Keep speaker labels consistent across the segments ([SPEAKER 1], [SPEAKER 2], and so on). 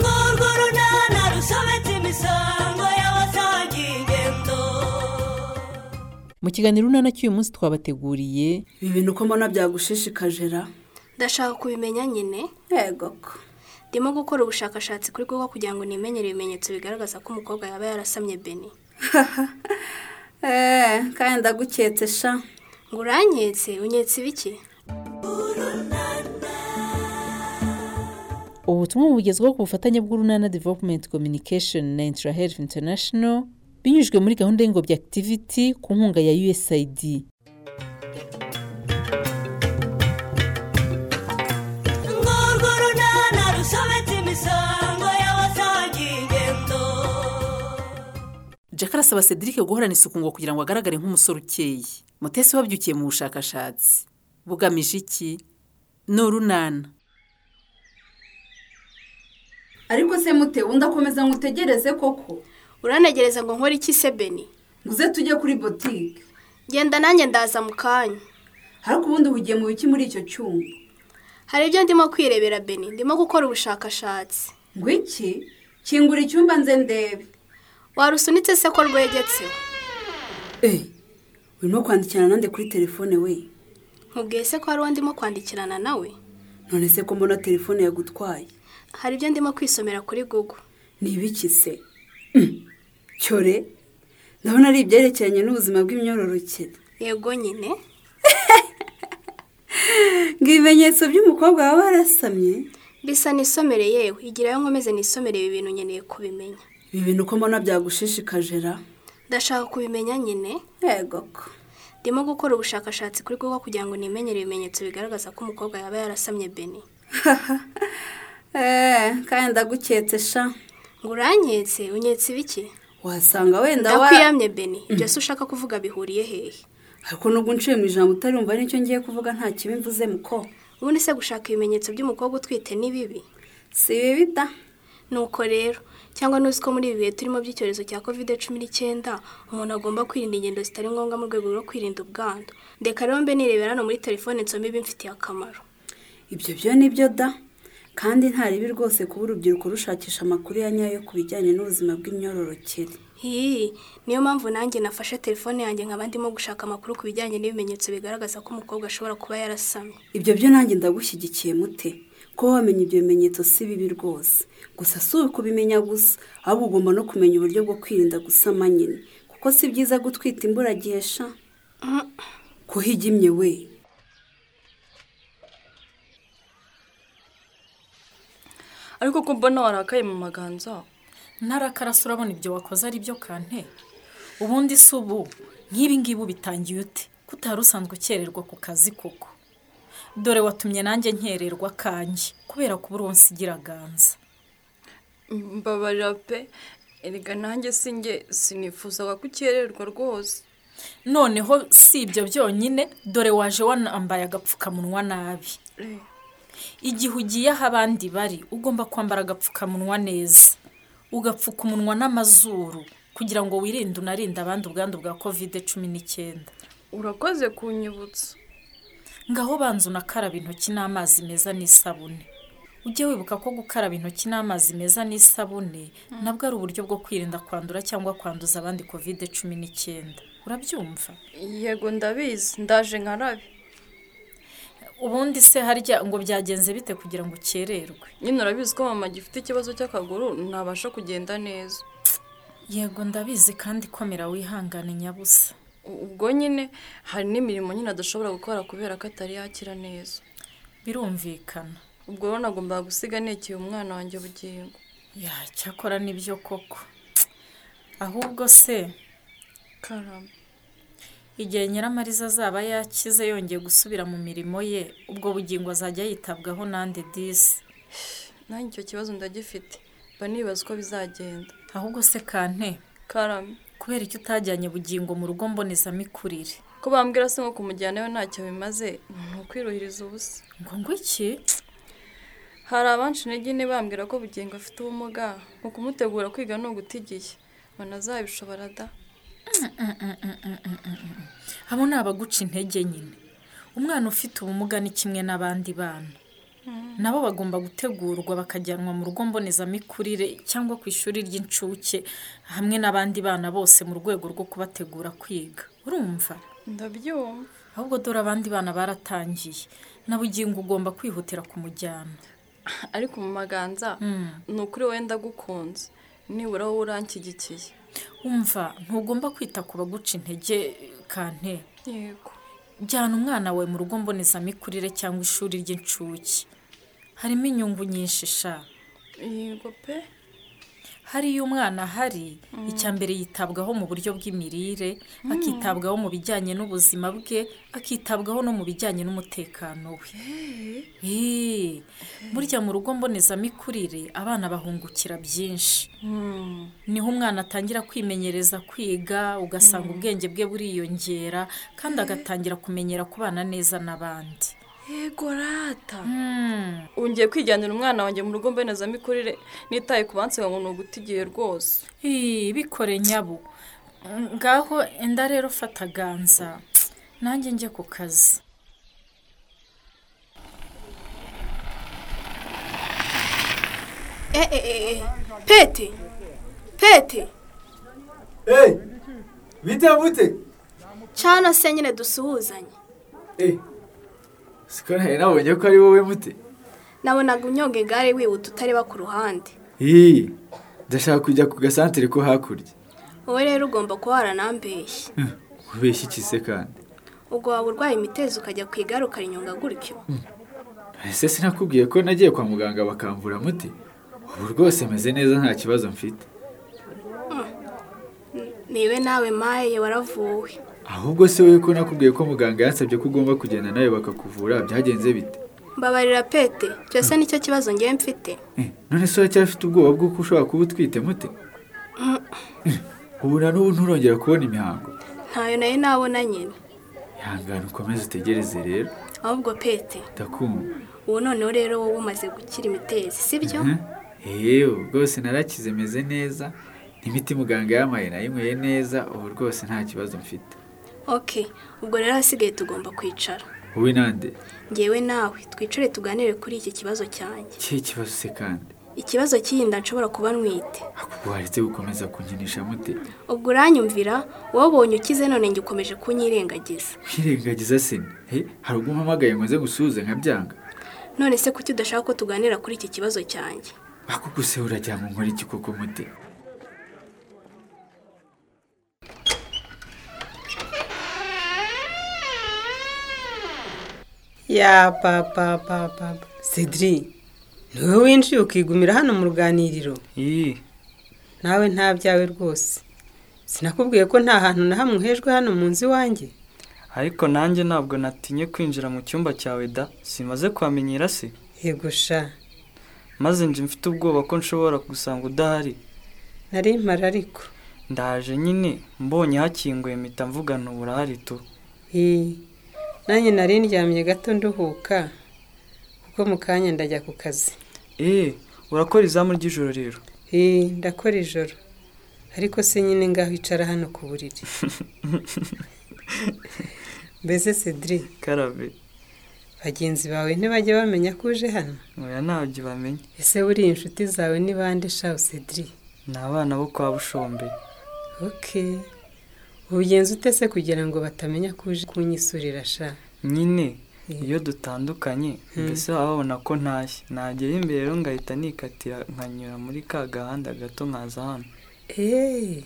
[SPEAKER 1] ngurw'urunana rusobetse imisango y'abasangiye ingendo
[SPEAKER 2] mu kiganiro urunana cy'uyu munsi twabateguriye
[SPEAKER 3] ibi bintu uko mbona byagushishikajera
[SPEAKER 4] ndashaka kubimenya nyine
[SPEAKER 3] yego ko
[SPEAKER 4] ndimo gukora ubushakashatsi kuri google kugira ngo nimenyere ibimenyetso bigaragaza ko umukobwa yaba yarasamye beni
[SPEAKER 3] eee Eh, kandi ndaguketse sha
[SPEAKER 4] ngo uranyetse unyetse ibiki
[SPEAKER 2] ubutumwa bugezweho ku bufatanye bw'urunana development communication na intra health international binyujijwe muri gahunda y'ingobyi activity ku nkunga ya usaid
[SPEAKER 1] ngurw'urunana rusobetse imisango y'abasangiye ingendo
[SPEAKER 5] jack arasaba cedric guhorana isuku ngo kugira ngo agaragare nk'umusore ukeye mutesi wabyukiye mu bushakashatsi bugamije iki ni urunana
[SPEAKER 3] ariko se mute undi akomeza ngo utegereze koko
[SPEAKER 4] uranegereza ngo nkore iki se beni
[SPEAKER 3] nguze tujye kuri botike
[SPEAKER 4] genda nanjye ndaza mu kanya
[SPEAKER 3] ariko ubundi bugiye mu biki muri icyo cyumba
[SPEAKER 4] hari ibyo ndimo kwirebera beni ndimo gukora ubushakashatsi
[SPEAKER 3] ngo iki kingura icyumba nze ndebe
[SPEAKER 4] warusunitse se ko rwegetseho
[SPEAKER 3] eee Eh, urimo kwandikirana nande kuri telefone we
[SPEAKER 4] nkubwiye se ko hari uwo ndimo kwandikirana nawe
[SPEAKER 3] none se ko mbona telefone yagutwaye
[SPEAKER 4] hari ibyo ndimo kwisomera kuri google
[SPEAKER 3] ni ibiki se Mm. cyore ndabona ari ibyerekeranye n'ubuzima bw'imyororokere
[SPEAKER 4] yego nyine
[SPEAKER 3] ngo ibimenyetso by'umukobwa waba warasamye
[SPEAKER 4] bisa nisomere yewe igirayo nkomeze nisomere ibi bintu nkeneye kubimenya
[SPEAKER 3] ibi bintu uko mbona byagushishikajera
[SPEAKER 4] ndashaka kubimenya nyine
[SPEAKER 3] yego ko
[SPEAKER 4] ndimo gukora ubushakashatsi kuri google kugira ngo nimenyere ibimenyetso bigaragaza ko umukobwa yaba yarasamye beni
[SPEAKER 3] eee Eh, kandi ndaguketse sha
[SPEAKER 4] ngo uranyetse unyetse ibiki
[SPEAKER 3] wasanga wenda wa
[SPEAKER 4] ndakwiyamye beni ibyo se ushaka kuvuga bihuriye hehe
[SPEAKER 3] ariko nubwo unciye mu ijambo utarumva nicyo ngiye kuvuga nta kibi mvuze muko
[SPEAKER 4] ubundi se gushaka ibimenyetso by'umukobwa utwite ni bibi
[SPEAKER 3] si bibi da
[SPEAKER 4] nuko rero cyangwa nuzi ko muri ibi bihe turimo by'icyorezo cya kovide cumi n'icyenda umuntu agomba kwirinda ingendo zitari ngombwa mu rwego rwo kwirinda ubwandu reka rero mbe nirebera hano muri telefone nsome ibimfitiye akamaro
[SPEAKER 3] ibyo byo ni byo da kandi nta ribi rwose kuba urubyiruko rushakisha amakuru ya nyayo ku bijyanye n'ubuzima bw'imyororokere
[SPEAKER 4] hii niyo mpamvu nanjye nafashe telefone yanjye nkaba ndimo gushaka amakuru ku bijyanye n'ibimenyetso bigaragaza ko umukobwa ashobora kuba yarasamye
[SPEAKER 3] ibyo byo nanjye ndagushyigikiye mute kuba wamenya ibyo bimenyetso si bibi rwose gusa si ukubimenya gusa ahubwo ugomba no kumenya uburyo bwo kwirinda gusama nyine kuko si byiza gutwita imburagihe sha kuko igimye we
[SPEAKER 6] ariko ko mbona warakaye mu maganza
[SPEAKER 7] ntarakarasa urabona ibyo wakoze ari byo kante ubundi si ubu nk'ibi ngibi ubitangiye ute ko utari usanzwe ukererwa ku kazi koko dore watumye nanjye nkererwa kanjye kubera ko buri wese igira ganza
[SPEAKER 6] mbabarira pe erega nanjye singe sinifuzaga ko ukererwa rwose
[SPEAKER 7] noneho si ibyo byonyine dore waje wanambaye agapfukamunwa nabi igihe ugiye aho abandi bari ugomba kwambara agapfukamunwa neza ugapfuka umunwa n'amazuru kugira ngo wirinde unarinde abandi ubwandu bwa kovide cumi n'icyenda
[SPEAKER 6] urakoze kunyibutsa
[SPEAKER 7] ngaho banza unakaraba intoki n'amazi meza n'isabune ujye wibuka ko gukaraba intoki n'amazi meza n'isabune nabwo ari uburyo bwo kwirinda kwandura cyangwa kwanduza abandi kovide cumi n'icyenda urabyumva
[SPEAKER 6] yego ndabizi ndaje nkarabe
[SPEAKER 7] ubundi se harya ngo byagenze bite kugira ngo ukererwe
[SPEAKER 6] nyine urabizi ko mama gifite ikibazo cy'akaguru ntabasha kugenda neza
[SPEAKER 7] yego ndabizi kandi komera wihangane nyabusa
[SPEAKER 6] U- ubwo nyine hari n'imirimo nyine adashobora gukora kubera ko atari yakira neza
[SPEAKER 7] birumvikana
[SPEAKER 6] ubwo rero nagombaga gusiga nekeye umwana wanjye ubugingo
[SPEAKER 7] ya cyakora nibyo koko ahubwo se
[SPEAKER 6] karama
[SPEAKER 7] igihe nyiramariza azaba yakize yongeye gusubira mu mirimo ye ubwo bugingo azajya yitabwaho nande disi
[SPEAKER 6] nanjye icyo kibazo ndagifite mba nibaza uko bizagenda
[SPEAKER 7] ahubwo se kante
[SPEAKER 6] karame
[SPEAKER 7] kubera icyo utajyanye bugingo mu rugo mbonezamikurire
[SPEAKER 6] ko bambwira se nko kumujyana we ntacyo bimaze ni ukwirihiriza ubusa
[SPEAKER 7] ngo ngo iki
[SPEAKER 6] hari abanshi intege nke bambwira ko bugingo afite ubumuga mu kumutegura kwiga ni ugutigiye banazabishobora da
[SPEAKER 7] abo ni abaguca intege nyine umwana ufite ubumuga ni kimwe n'abandi bana nabo bagomba gutegurwa bakajyanwa mu rugo mbonezamikurire cyangwa ku ishuri ry'incuke hamwe n'abandi bana bose mu rwego rwo kubategura kwiga urumva
[SPEAKER 6] ndabyumva
[SPEAKER 7] ahubwo dore abandi bana baratangiye na bugingo ugomba kwihutira kumujyana
[SPEAKER 6] ariko mu maganza ni ukuri wowe ndagukunze nibura wowe uranshyigikiye
[SPEAKER 7] wumva ntugomba kwita ku baguca intege kante
[SPEAKER 6] yego
[SPEAKER 7] jyana umwana wawe mu rugo mbonezamikurire cyangwa ishuri ry'incuke harimo inyungu nyinshi sha
[SPEAKER 6] yego pe
[SPEAKER 7] hari iyo umwana ahari icya mbere yitabwaho mu buryo bw'imirire akitabwaho mu bijyanye n'ubuzima bwe akitabwaho no mu bijyanye n'umutekano we Eh, burya mu rugo mbonezamikurire abana bahungukira byinshi niho umwana atangira kwimenyereza kwiga ugasanga ubwenge bwe buriyongera kandi agatangira kumenyera kubana neza n'abandi
[SPEAKER 6] yego rata wongeye kwijyanira umwana wanjye mu rugo mbonezamikurire nitaye ku bansi ngo ni uguta igihe rwose
[SPEAKER 7] Ii, bikore nyabo ngaho enda rero fata ganza nanjye njye ku kazi
[SPEAKER 4] Eh, eh, eh, eh. pete pete
[SPEAKER 8] eyi bite bute
[SPEAKER 4] cana se nyine dusuhuzanye
[SPEAKER 8] eyi siko nari nabonye ko ari wowe bute
[SPEAKER 4] nabonaga unyonga igare wihuta utareba ku ruhande
[SPEAKER 8] iyi ndashaka kujya ku gasantere ko hakurya
[SPEAKER 4] wowe rero ugomba kuba waranambeshye
[SPEAKER 8] ubeshya iki se kandi
[SPEAKER 4] ubwo waba urwaye imitezi ukajya ku igare ukarinyonga gutyo
[SPEAKER 8] ese sinakubwiye ko nagiye kwa muganga bakamvura muti ubu rwose meze neza nta kibazo mfite
[SPEAKER 4] niwe nawe maye waravuwe
[SPEAKER 8] ahubwo se wowe ko nakubwiye ko muganga yansabye ko ugomba kugenda nawe bakakuvura byagenze bite
[SPEAKER 4] mbabarira pete icyo se nicyo kibazo ngewe mfite
[SPEAKER 8] Eh, none se uracyafite ubwoba bw'uko ushobora kuba utwite mute Eh, ubu na n'ubu nturongera kubona imihango
[SPEAKER 4] ntayo nayo nabona nyine
[SPEAKER 8] ihangane ukomeze utegereze rero
[SPEAKER 4] ahubwo pete
[SPEAKER 8] ndakumva
[SPEAKER 4] ubu noneho rero wowe umaze gukira imitezi sibyo
[SPEAKER 8] Mhm. yewe rwose narakize meze neza n'imiti muganga yampaye nayinyweye neza ubu rwose nta kibazo mfite
[SPEAKER 4] ok ubwo rero hasigaye tugomba kwicara
[SPEAKER 8] wowe nande
[SPEAKER 4] ngewe nawe twicare tuganire kuri iki kibazo cyanjye
[SPEAKER 8] kihe kibazo se kandi
[SPEAKER 4] ikibazo cy'iyinda nshobora kuba ntwite
[SPEAKER 8] ahubwo waretse gukomeza kunkinisha mute
[SPEAKER 4] ubwo uranyumvira wabonye ukize none njye ukomeje kunyirengagiza
[SPEAKER 8] kwirengagiza sini he hari ubwo umpamagaye ngo nze gusuhuze nkabyanga
[SPEAKER 4] none se kuki udashaka ko tuganira kuri iki kibazo cyanjye
[SPEAKER 8] ako gusa uragira ngo nkore iki koko mute
[SPEAKER 9] ya papa papa cedri niwe winjiye ukigumira hano mu ruganiriro
[SPEAKER 8] iyi
[SPEAKER 9] nawe nta byawe rwose sinakubwiye ko nta hantu na hamwe uhejwe hano mu nzu iwanjye
[SPEAKER 10] ariko nanjye ntabwo natinye kwinjira mu cyumba cyawe da simaze kuhamenyera se
[SPEAKER 9] yego sha
[SPEAKER 10] maze nje mfite ubwoba ko nshobora gusanga udahari
[SPEAKER 9] nari mpara ariko
[SPEAKER 10] ndaje nyine mbonye hakinguye mpita mvugana uburahari tu
[SPEAKER 9] Ii, nanjye nari ndyamye gato nduhuka kuko mu kanya ndajya ku kazi
[SPEAKER 10] eee Eh, urakora izamu ry'ijoro rero
[SPEAKER 9] Ii, Eh, ndakora ijoro ariko se nyine ngaho icara hano ku buriri mbese cedri
[SPEAKER 10] karabe
[SPEAKER 9] bagenzi bawe ntibajya bamenya ko uje hano
[SPEAKER 10] oya ntabyo bamenye
[SPEAKER 9] ese buriya inshuti zawe ni bande shawu cedri
[SPEAKER 10] ni abana bo kwa bushombe
[SPEAKER 9] oke ubigenza ute se kugira ngo batamenya ko uje kunyisurira sha Eh. Hmm.
[SPEAKER 10] nyine iyo dutandukanye mbese baba babona ko ntashye nagera imbere rero ngahita nikatira nkanyura muri ka gahanda gato nkaza hano
[SPEAKER 9] eee Eh,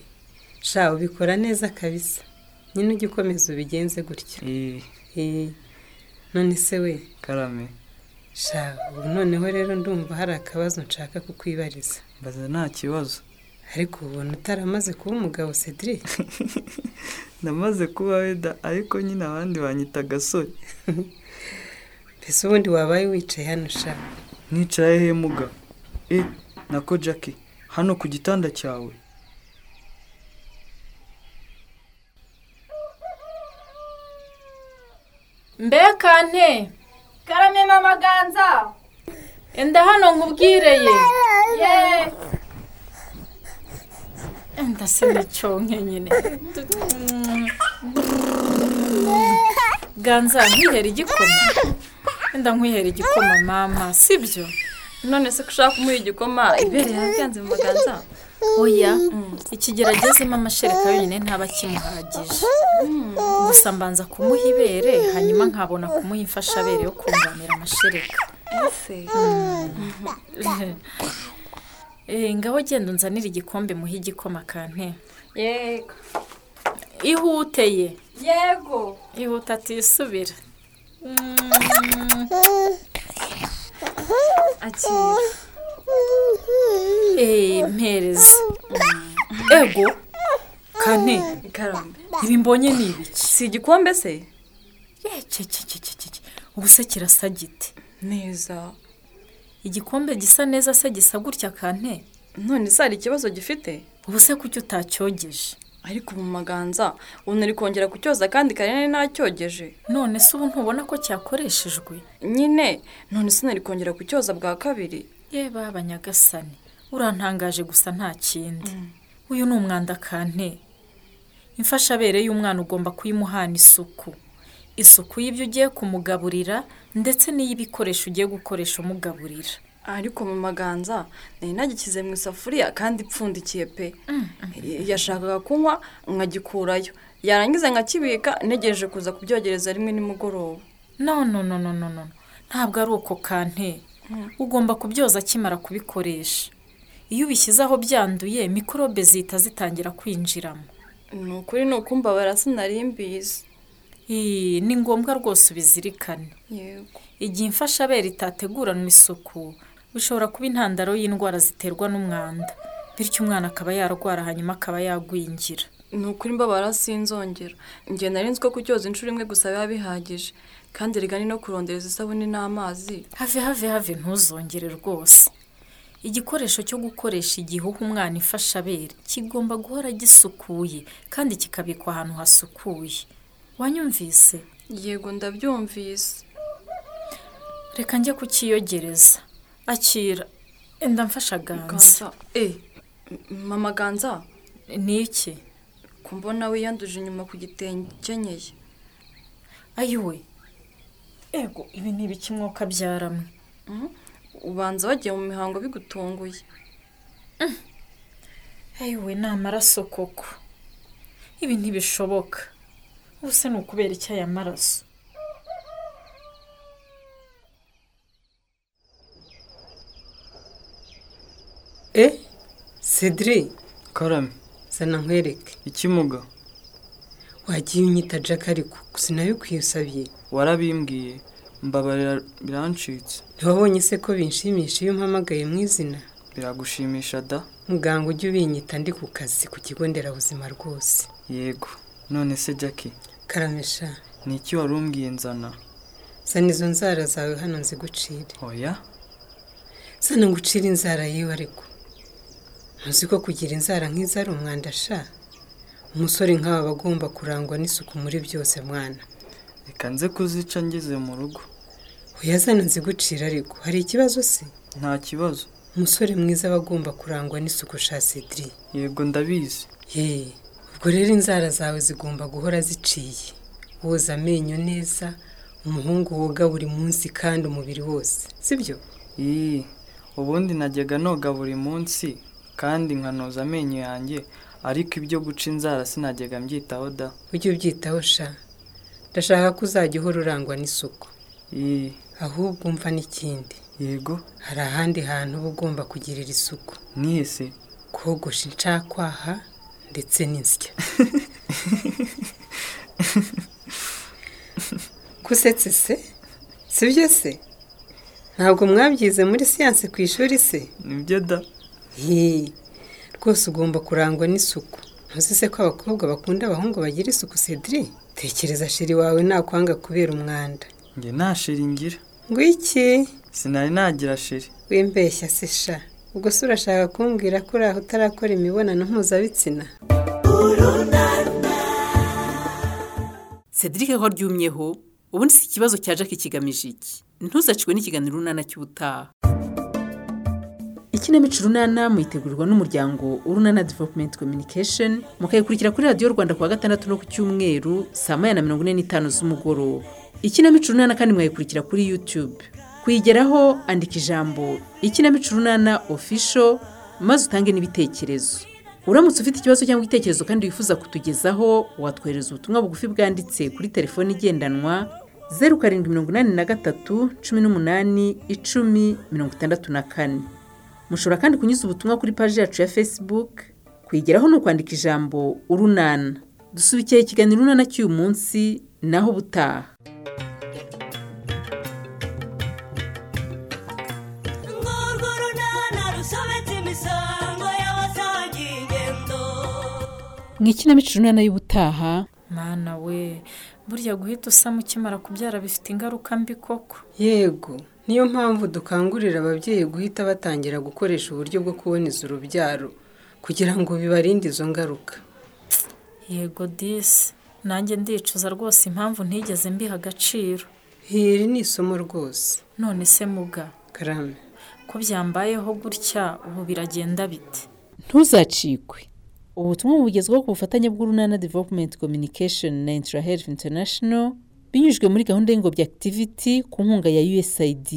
[SPEAKER 9] sha ubikora neza kabisa nyine ujya ukomeza ubigenze gutya
[SPEAKER 10] eee
[SPEAKER 9] eee none se we
[SPEAKER 10] Eh. karame
[SPEAKER 9] sha ubu noneho rero ndumva hari akabazo nshaka kukwibariza
[SPEAKER 10] mbaza nta kibazo
[SPEAKER 9] ariko ubona utaramaze kuba umugabo cedri
[SPEAKER 10] namaze kuba weda ariko nyine abandi banyita agasore
[SPEAKER 9] mbese ubundi wabaye wicaye hano sha
[SPEAKER 10] nkicaye hemuga e nako jackie hano ku gitanda cyawe
[SPEAKER 7] mbe kante
[SPEAKER 11] karame n'amaganza
[SPEAKER 7] enda hano nkubwire ye
[SPEAKER 11] yeee
[SPEAKER 7] enda sinacyonke nyine ganza ntihere igikoma wenda nkwihera igikoma mama sibyo none se ko ushaka kumuha igikoma ibere yanze mu maganza oya ikigeragezemo amashereka yonyine ntaba akimuhagije gusa mbanza kumuha ibere hanyuma nkabona kumuha imfashabere yo kunganira amashereka Mm. Eh, ngaho genda unzanire igikombe muhe igikoma kante
[SPEAKER 11] yego
[SPEAKER 7] ihuteye
[SPEAKER 11] yego
[SPEAKER 7] ihuta atisubira akira eee mpereza ego kane
[SPEAKER 6] ikarambe
[SPEAKER 7] ibi mbonye ni ibiki
[SPEAKER 6] si igikombe se
[SPEAKER 7] yekekekekeke ubu se kirasa gite
[SPEAKER 6] neza
[SPEAKER 7] igikombe gisa neza se gisa gutya kane
[SPEAKER 6] none se hari ikibazo gifite
[SPEAKER 7] ubu se kuki utacyogeje
[SPEAKER 6] ariko mu maganza ubu ari kongera kucyoza kandi kare ntacyogeje
[SPEAKER 7] none se ubu ntubona ko cyakoreshejwe
[SPEAKER 6] nyine none se nari kongera kucyoza bwa kabiri
[SPEAKER 7] yeba abanyagasani urantangaje gusa nta kindi uyu ni umwanda kante imfashabere y'umwana ugomba kuyimuhana isuku isuku y'ibyo ugiye kumugaburira ndetse n'iy'ibikoresho ugiye gukoresha umugaburira
[SPEAKER 6] ariko mu maganza nari nagikize mu isafuriya kandi ipfundikiye pe yashakaga kunywa nkagikurayo yarangiza nkakibika ntegereje kuza kubyogereza rimwe nimugoroba
[SPEAKER 7] no no no no no no ntabwo ari uko kante ugomba kubyoza akimara kubikoresha iyo ubishyize aho byanduye mikorobe zihita zitangira kwinjiramo
[SPEAKER 6] ni ukuri ni ukumbabara sinari mbizi
[SPEAKER 7] Ii, ni ngombwa rwose ubizirikane
[SPEAKER 6] yego
[SPEAKER 7] igihe imfashabere itateguranwa isuku bishobora kuba intandaro y'indwara ziterwa n'umwanda bityo umwana akaba yarwara hanyuma akaba yagwingira
[SPEAKER 6] ni ukuri mbabara sinzongera njye nari nzi ko kucyoza inshuro imwe gusa biba bihagije kandi rigani no kurondereza isabune n'amazi
[SPEAKER 7] have have have ntuzongere rwose igikoresho cyo gukoresha igihe uha umwana imfashabere kigomba guhora gisukuye kandi kikabikwa ahantu hasukuye wanyumvise
[SPEAKER 6] yego ndabyumvise
[SPEAKER 7] reka njye kukiyogereza akira enda mfasha ganza
[SPEAKER 6] ganza eh mama ganza
[SPEAKER 7] ni iki
[SPEAKER 6] ko mbona wiyanduje inyuma ku gitenge ukenyeye
[SPEAKER 7] ayiwe ego ibi ni ibiki mwuka byaramwe
[SPEAKER 6] ubanza wagiye mu mihango bigutunguye
[SPEAKER 7] ayiwe ni amaraso koko ibi ntibishoboka ubuse ni ukubera iki aya maraso
[SPEAKER 9] e cedri
[SPEAKER 10] karame
[SPEAKER 9] zana nkwereke
[SPEAKER 10] ikimuga
[SPEAKER 9] wagiye unyita jack ariko sinabikwiye usabye
[SPEAKER 10] warabimbwiye mbabarira birancitse
[SPEAKER 9] ntiwabonye se ko binshimisha iyo umpamagaye mu izina
[SPEAKER 10] biragushimisha da
[SPEAKER 9] muganga ujye ubinyita ndi ku kazi ku kigo nderabuzima rwose
[SPEAKER 10] yego none se jackie
[SPEAKER 9] karamesha
[SPEAKER 10] ni iki wari umbwiye nzana
[SPEAKER 9] zana izo nzara zawe hano nzigucire
[SPEAKER 10] oya
[SPEAKER 9] zana ngucire inzara yiwe ariko ntuzi ko kugira inzara nk'izo ari umwanda sha umusore nk'aba aba agomba kurangwa n'isuku muri byose mwana
[SPEAKER 10] reka nze kuzica ngeze mu rugo
[SPEAKER 9] uyazana nzigucira ariko hari ikibazo se
[SPEAKER 10] nta kibazo
[SPEAKER 9] umusore mwiza aba agomba kurangwa n'isuku sha cedri
[SPEAKER 10] yego ndabizi
[SPEAKER 9] yeee ubwo rero inzara zawe zigomba guhora ziciye woza amenyo neza umuhungu woga buri munsi kandi umubiri wose sibyo
[SPEAKER 10] iyi ubundi najyaga noga buri munsi kandi nkanoza amenyo yanjye ariko ibyo guca inzara sinajyaga mbyitaho da
[SPEAKER 9] ujye ubyitaho sha ndashaka ko uzajya uhora urangwa n'isuku
[SPEAKER 10] iyi
[SPEAKER 9] ahubwo umva n'ikindi
[SPEAKER 10] yego
[SPEAKER 9] hari ahandi hantu uba ugomba kugirira isuku
[SPEAKER 10] mwese
[SPEAKER 9] kogosha incakwaha ndetse n'insya gusetse se sibyo se ntabwo mwabyize muri siyanse ku ishuri se
[SPEAKER 10] nibyo da
[SPEAKER 9] Hii, rwose ugomba kurangwa n'isuku ntuzi se ko abakobwa bakunda abahungu bagira isuku cedri tekereza sheri wawe nakwanga kubera umwanda
[SPEAKER 10] njye nta sheri ngira
[SPEAKER 9] ngo iki
[SPEAKER 10] sinari nagira sheri
[SPEAKER 9] wimbeshya se sha ubwo se urashaka kumbwira ko uri aho utarakora imibonano mpuzabitsina
[SPEAKER 5] cedric aho aryumyeho ubundi si ikibazo cya jackie kigamije iki ntuzacikwe n'ikiganiro runana cy'ubutaha
[SPEAKER 2] ikinamico runana muyitegurwa n'umuryango urunana developumenti kominikesheni mukayikurikira kuri radiyo rwanda ku wa gatandatu no ku cyumweru saa moya na mirongo ine n'itanu z'umugoroba ikinamico urunana kandi mwayikurikira kuri yutube kuyigeraho andika ijambo ikinamico urunana ofisho maze utange n'ibitekerezo uramutse ufite ikibazo cyangwa igitekerezo kandi wifuza kutugezaho watwohereza ubutumwa bugufi bwanditse kuri telefoni igendanwa zeru karindwi mirongo inani na gatatu cumi n'umunani icumi mirongo itandatu na kane mushobora kandi kunyuza ubutumwa kuri paji yacu ya facebook kuyigeraho ni ukwandika ijambo urunana dusubikiye ikiganiro urunana cy'uyu munsi naho ubutaha
[SPEAKER 1] Ngurwo runana rusobetse imisango y'abasagi ingendo
[SPEAKER 2] mwikinamico urunana y'ubutaha
[SPEAKER 7] mana we burya guhita usama ukimara kubyara bifite ingaruka mbi koko
[SPEAKER 9] yego niyo mpamvu dukangurira ababyeyi guhita batangira gukoresha uburyo bwo kuboneza urubyaro kugira ngo bibarinde izo ngaruka
[SPEAKER 7] yego disi nanjye ndicuza rwose impamvu ntigeze mbiha agaciro
[SPEAKER 9] iri ni isomo rwose
[SPEAKER 7] none se muga
[SPEAKER 9] karame
[SPEAKER 7] ko byambayeho gutya ubu biragenda bite
[SPEAKER 2] ntuzacikwe ubutumwa bugezweho ku bufatanye bw'urunana development communication na intra health international binyujijwe muri gahunda y'ingobyi activity ku nkunga ya usaid